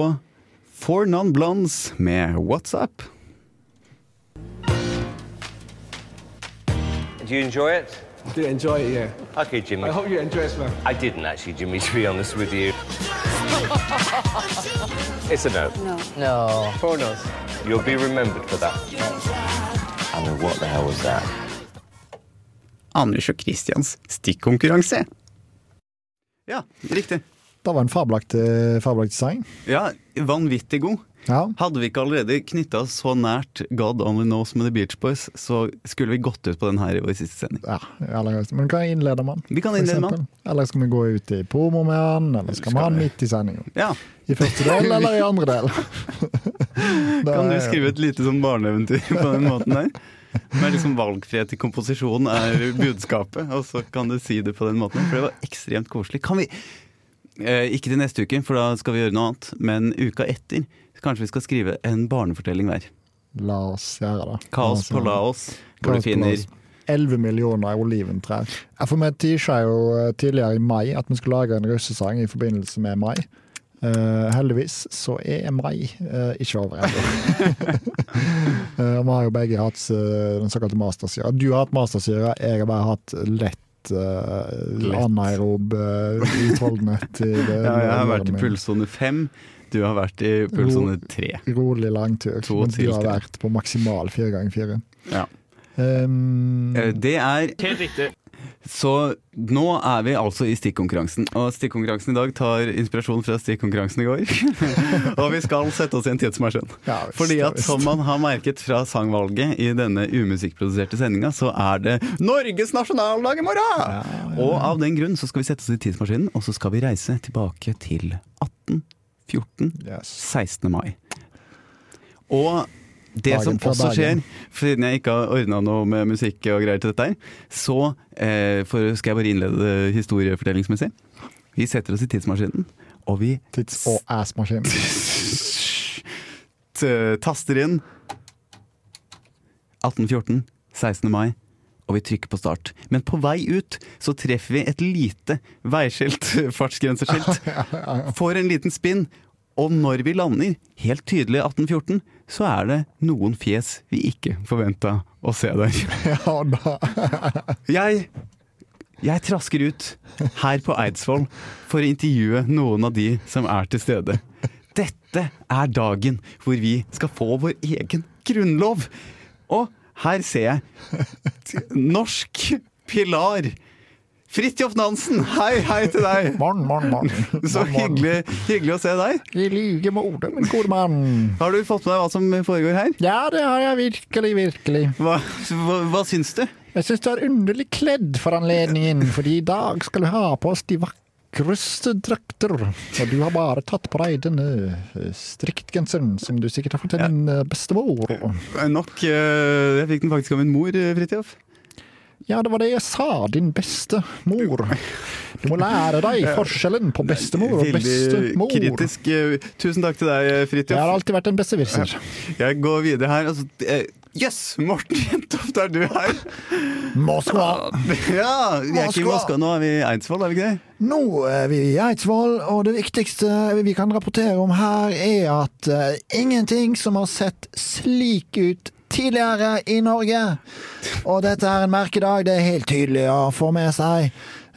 A: Four Non-Blondes med WhatsApp.
G: Do you enjoy it?
H: Do enjoy it, yeah.
G: Okay, Jimmy.
H: I hope you enjoy it, man.
G: I didn't actually, Jimmy, to be honest with you. it's a no.
H: Oh. Pornos.
G: You'll be remembered for that. I mean, what the hell was that?
A: Anders og Christians stikkonkurranse. Ja, riktig.
B: Det var en fabelaktig, fabelaktig sang.
A: Ja, vanvittig god.
B: Ja.
A: Hadde vi ikke allerede knytta oss så nært God Only Knows med The Beach Boys, så skulle vi gått ut på den her i vår siste sending.
B: ja eller, men kan jeg innlede med den?
A: Vi kan
B: for
A: innlede med
B: eksempel?
A: den.
B: Eller skal vi gå ut i promo med han, eller skal vi ha han midt i sendingen?
A: Ja.
B: I første del eller i andre del? Det
A: Kan du
B: er-
A: skrive et lite sånn barneeventyr på den måten der? Med liksom valgfrihet i komposisjon er budskapet, og så kan du si det på den måten. For det var ekstremt koselig. Kan vi eh, Ikke til neste uke, for da skal vi gjøre noe annet, men uka etter. så Kanskje vi skal skrive en barnefortelling hver.
B: La oss gjøre det.
A: Kaos på Laos, hvor du
B: Altså, Kaos på
A: finner
B: Laos. 11 millioner oliventrær. Ja, For vi teasa jo eh, tidligere i mai at vi skulle lage en russesang i forbindelse med mai. Eh, heldigvis så er mai eh, ikke over ennå. Eh, og vi har jo begge hatt eh, den såkalte mastersyra. Du har hatt mastersyra, jeg har bare hatt lett uh, anaerob uh, utholdenhet. I det,
A: Ja, jeg har vært i
B: min.
A: pulssone fem, du har vært i pulssone tre.
B: Rolig langtur.
A: To
B: Men
A: til
B: du har
A: tre.
B: vært på maksimal fire ganger fire.
A: Ja.
B: Um,
A: Eh, Det er Så nå er vi altså i stikkonkurransen. Og stikkonkurransen i dag tar inspirasjon fra stikkonkurransen i går. og vi skal sette oss i en tidsmaskin.
B: Ja, visst,
A: Fordi
B: ja,
A: at
B: visst.
A: som man har merket fra sangvalget i denne umusikkproduserte sendinga, så er det Norges nasjonaldag i morgen! Og av den grunn så skal vi sette oss i tidsmaskinen, og så skal vi reise tilbake til 1814.
B: yes.
A: 16. mai. Og det
B: Dagen
A: som
B: fra
A: også skjer,
B: dagen.
A: siden jeg ikke har ordna noe med musikk og greier til dette her, så eh, for, skal jeg bare innlede det historiefortellingsmessig. Vi setter oss i tidsmaskinen, og vi
B: Tids- og ass-maskin.
A: t taster inn 1814, 16. mai, og vi trykker på start. Men på vei ut så treffer vi et lite veiskilt, fartsgrenseskilt. Får en liten spinn, og når vi lander, helt tydelig 1814, så er det noen fjes vi ikke forventa å se der.
B: Ja, og da
A: Jeg, jeg trasker ut her på Eidsvoll for å intervjue noen av de som er til stede. Dette er dagen hvor vi skal få vår egen grunnlov. Og her ser jeg t- Norsk Pilar Fridtjof Nansen, hei, hei til deg!
B: Morn, morn, morn.
A: Så
B: Morn, morn.
A: hyggelig, hyggelig å se deg.
B: I like måte, min gode mann.
A: Har du fått med deg hva som foregår her?
B: Ja, det har jeg virkelig, virkelig.
A: Hva, hva, hva syns du?
B: Jeg syns du er underlig kledd for anledningen, fordi i dag skal vi ha på oss de vakreste drakter. Og du har bare tatt på deg denne eh, striktgenseren som du sikkert har fått til din eh, bestemor.
A: Nok eh, Jeg fikk den faktisk av min mor, eh, Fridtjof.
B: Ja, det var det jeg sa, din beste mor. Du må lære deg forskjellen på bestemor og
A: Veldig
B: bestemor. Jeg
A: kritisk. eh, Tusen takk til deg, eh, Fridtjof.
B: har alltid vært en besserwisser.
A: Jeg går videre her. altså, eh, Jøss, yes, Morten Jentoft, er du her?
B: Moskva!
A: Ja, Vi er ikke i
B: Moskva.
A: Moskva nå, er vi i Eidsvoll, er vi ikke det?
B: Nå er vi i Eidsvoll, og det viktigste vi kan rapportere om her, er at eh, ingenting som har sett slik ut tidligere i Norge. Og dette er en merkedag, det er helt tydelig å få med seg.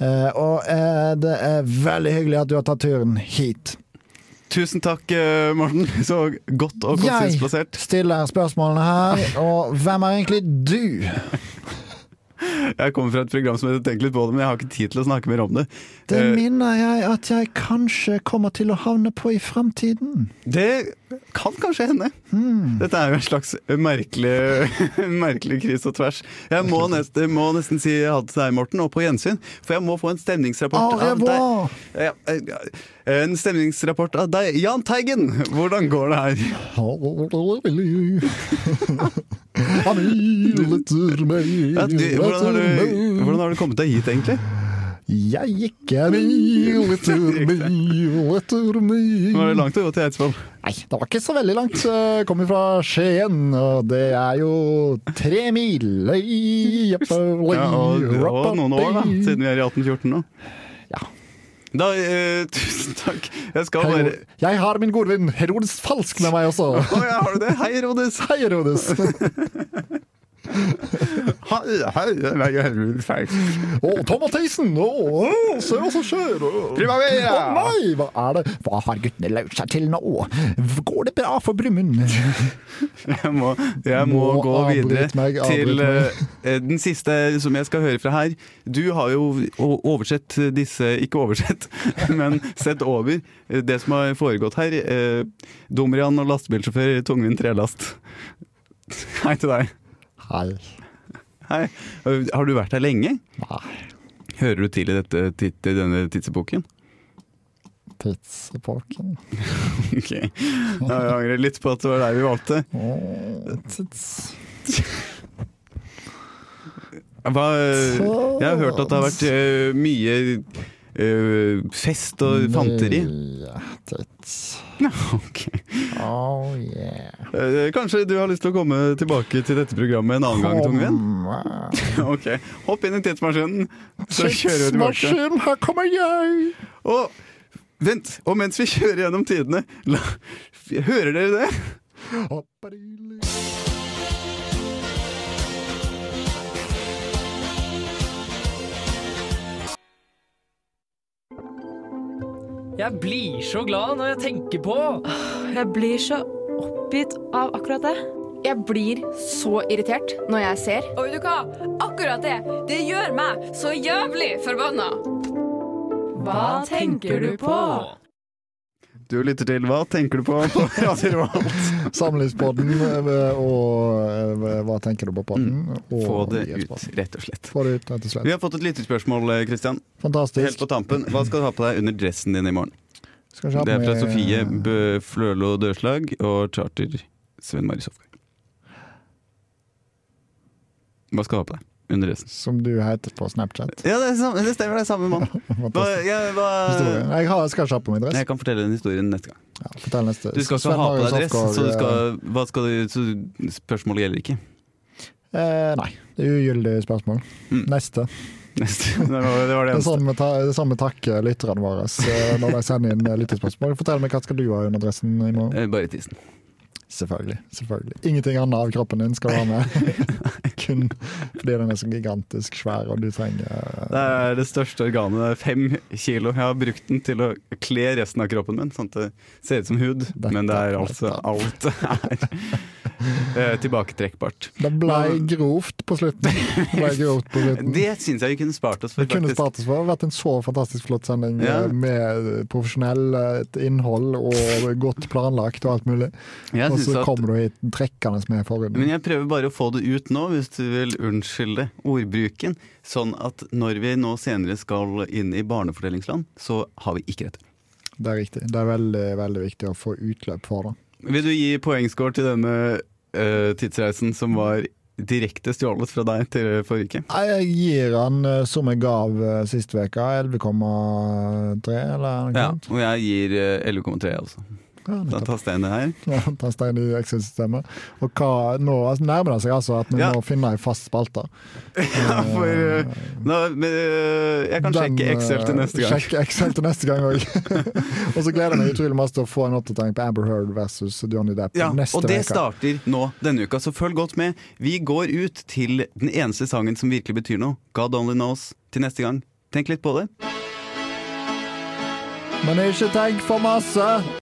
B: Eh, og eh, det er veldig hyggelig at du har tatt turen hit.
A: Tusen takk, eh, Morten. Så godt og
B: Jeg
A: konsistplassert.
B: stiller spørsmålene her, og hvem er egentlig du?
A: Jeg kommer fra et program som heter Tenk litt på det, men jeg har ikke tid til å snakke mer om det.
B: Det
A: Eh,
B: minner jeg at jeg kanskje kommer til å havne på i framtiden.
A: Det kan kanskje hende.
B: Hmm.
A: Dette er jo en slags merkelig, merkelig kryss og tvers. Jeg må nesten, må nesten si ha det til deg, Morten, og på gjensyn. For jeg må få en stemningsrapport
B: Au revoir!
A: Ja, eh, ja, En stemningsrapport av deg. Jahn Teigen, hvordan går det her?
B: Hvordan
A: Ja, du, hvordan, har du, hvordan har du kommet deg hit, egentlig?
B: Jeg gikk en mil etter mil etter mil
A: Var det langt å gå til Eidsvoll?
B: Nei, det var ikke så veldig langt. Jeg kommer fra Skien, og det er jo tre mil Ja,
A: Ja, og, og noen år, da. Siden vi er i 1814 nå.
B: Ja.
A: Da, eh, tusen takk. Jeg skal
B: Hei,
A: bare
B: Jeg har min gode venn Herodes Falsk med meg også.
A: Å ja, har du det? Hei, Rodes.
B: Hei, Herodes.
A: Hei, hei, nei, jeg er litt feil.
B: Og Tom Mathisen! Å, å, se hva som skjer! Å. Å nei, hva er det? Hva har guttene laut seg til nå? Går det bra for Brumund?
A: Jeg må, jeg må,
B: Må
A: gå
B: avbryt
A: videre
B: meg, avbryt
A: til
B: meg.
A: eh, den siste som jeg skal høre fra her. Du har jo o- oversett disse Ikke oversett, men sett over eh, det som har foregått her. Eh, Dumrian og lastebilsjåfør i tungvint trelast. Hei til deg.
B: Hei.
A: Hei. Eh, Har du vært her lenge?
B: Nei,
A: Hører du til i dette, tit- i denne tidsepoken?
B: tidsepoken
A: Ok. Jeg angrer litt på at det var deg vi valgte.
B: Å, tids...
A: Hva,
B: Så-
A: jeg har hørt at det har vært eh, mye eh, fest og fanteri.
B: Ja, tids...
A: Ok.
B: Oh, yeah.
A: Eh, kanskje du har lyst til å komme tilbake til dette programmet en annen gang, Tungvin? Ok, Hopp inn i tidsmaskinen, så kjører vi tilbake.
B: Tidsmaskin, her kommer jeg!
A: Og vent, og mens vi kjører gjennom tidene la, Hører dere det?
I: Jeg blir så glad når jeg tenker på
J: Jeg blir så oppgitt av akkurat det. Jeg blir så irritert når jeg ser. Og vet du hva? Akkurat det! Det gjør meg så jævlig forbanna! Hva tenker du på?
A: Du lytter til Hva tenker du på? på Radio Revolt.
B: Samlivspodden eh, og eh, Hva tenker du på podden? Og
A: Mm. Få det ut,
B: nyhetspodden.
A: rett og slett.
B: Få det ut, rett og
A: Vi
B: slett.
A: har fått et lytterspørsmål, Kristian. Helt
B: Fantastisk.
A: på tampen. Hva skal du ha på deg under dressen din i morgen?
B: Skal vi se
A: Det er
B: om
A: fra
B: vi-
A: Sofie Bø Flølo Dørslag og charter Sven Mari Sofgaard. Hva skal du ha på deg? Under resten.
B: Som du heter på Snapchat.
A: Ja, det, er samme, det stemmer, det er samme mann. Hva,
B: Fantastisk.
A: jeg, hva,
B: Historie. Jeg, har, jeg skal ikke ha på meg dress.
A: jeg kan fortelle den historien neste gang.
B: Ja, fortell neste.
A: Du skal ikke
B: Sven
A: ha på
B: Marius eh,
A: deg dress,
B: Hofgaard,
A: så, du skal, hva skal du, så spørsmålet gjelder ikke.
B: eh, Nei, det er ugyldig spørsmål.
A: Mm.
B: Neste.
A: Neste. Det var det, var det
B: Det
A: eneste.
B: samme, ta, det samme takker lytterne våre eh, når de sender inn eh, lyttespørsmål. Fortell meg hva skal du ha under dressen i morgen.
A: Eh, Bare tissen.
B: Selvfølgelig. selvfølgelig. Ingenting annet av kroppen din skal du ha med. Kun fordi den er så gigantisk svær, og du trenger eh,
A: Det er det største organet. Det er fem kilo. Jeg har brukt den til å kle resten av kroppen min, sånn at det ser ut som hud. Men det er altså alt det er. eh, tilbaketrekkbart.
B: Det ble grovt på slutten. Det ble grovt på slutten.
A: Det syns jeg vi kunne spart oss for,
B: Det kunne
A: faktisk.
B: spart oss for. Det har vært en så fantastisk flott sending
A: Ja.
B: eh, med profesjonelt innhold og godt planlagt og alt mulig.
A: Jeg
B: Og
A: synes
B: så
A: at-
B: kommer du hit trekkende med forhuden.
A: Men jeg prøver bare å få det ut nå, hvis du vil unnskylde ordbruken. Sånn at når vi nå senere skal inn i barnefordelingsland, så har vi ikke rett.
B: Det er riktig. Det er veldig, veldig viktig å få utløp for det.
A: Vil du gi poengscore til denne eh, tidsreisen som var direkte stjålet fra deg til forrige uke?
B: Nei, Jeg gir han eh, som jeg gav eh, sist uke, 11,3 eller noe
A: Ja,
B: sånt.
A: og jeg gir eh, 11,3, altså.
B: Ja,
A: Da
B: nettopp.
A: tar Stein det her.
B: Ja, Ta stein i Excel-systemet. Og hva, nå altså, nærmer det seg altså at vi
A: Ja.
B: må finne ei fast spalte.
A: Ja, for eh, da, men, eh, Jeg kan
B: Den,
A: sjekke Excel til
B: eh,
A: neste gang.
B: Sjekke Excel til neste gang også. og så gleder jeg meg utrolig masse til å få en oppdatering på Amber Heard versus Johnny Depp
A: Ja,
B: neste
A: og det
B: uke.
A: starter nå denne uka, så følg godt med. Vi går ut til den eneste sangen som virkelig betyr noe, God Only Knows, til neste gang. Tenk litt på det.
B: Men ikke tenk for masse!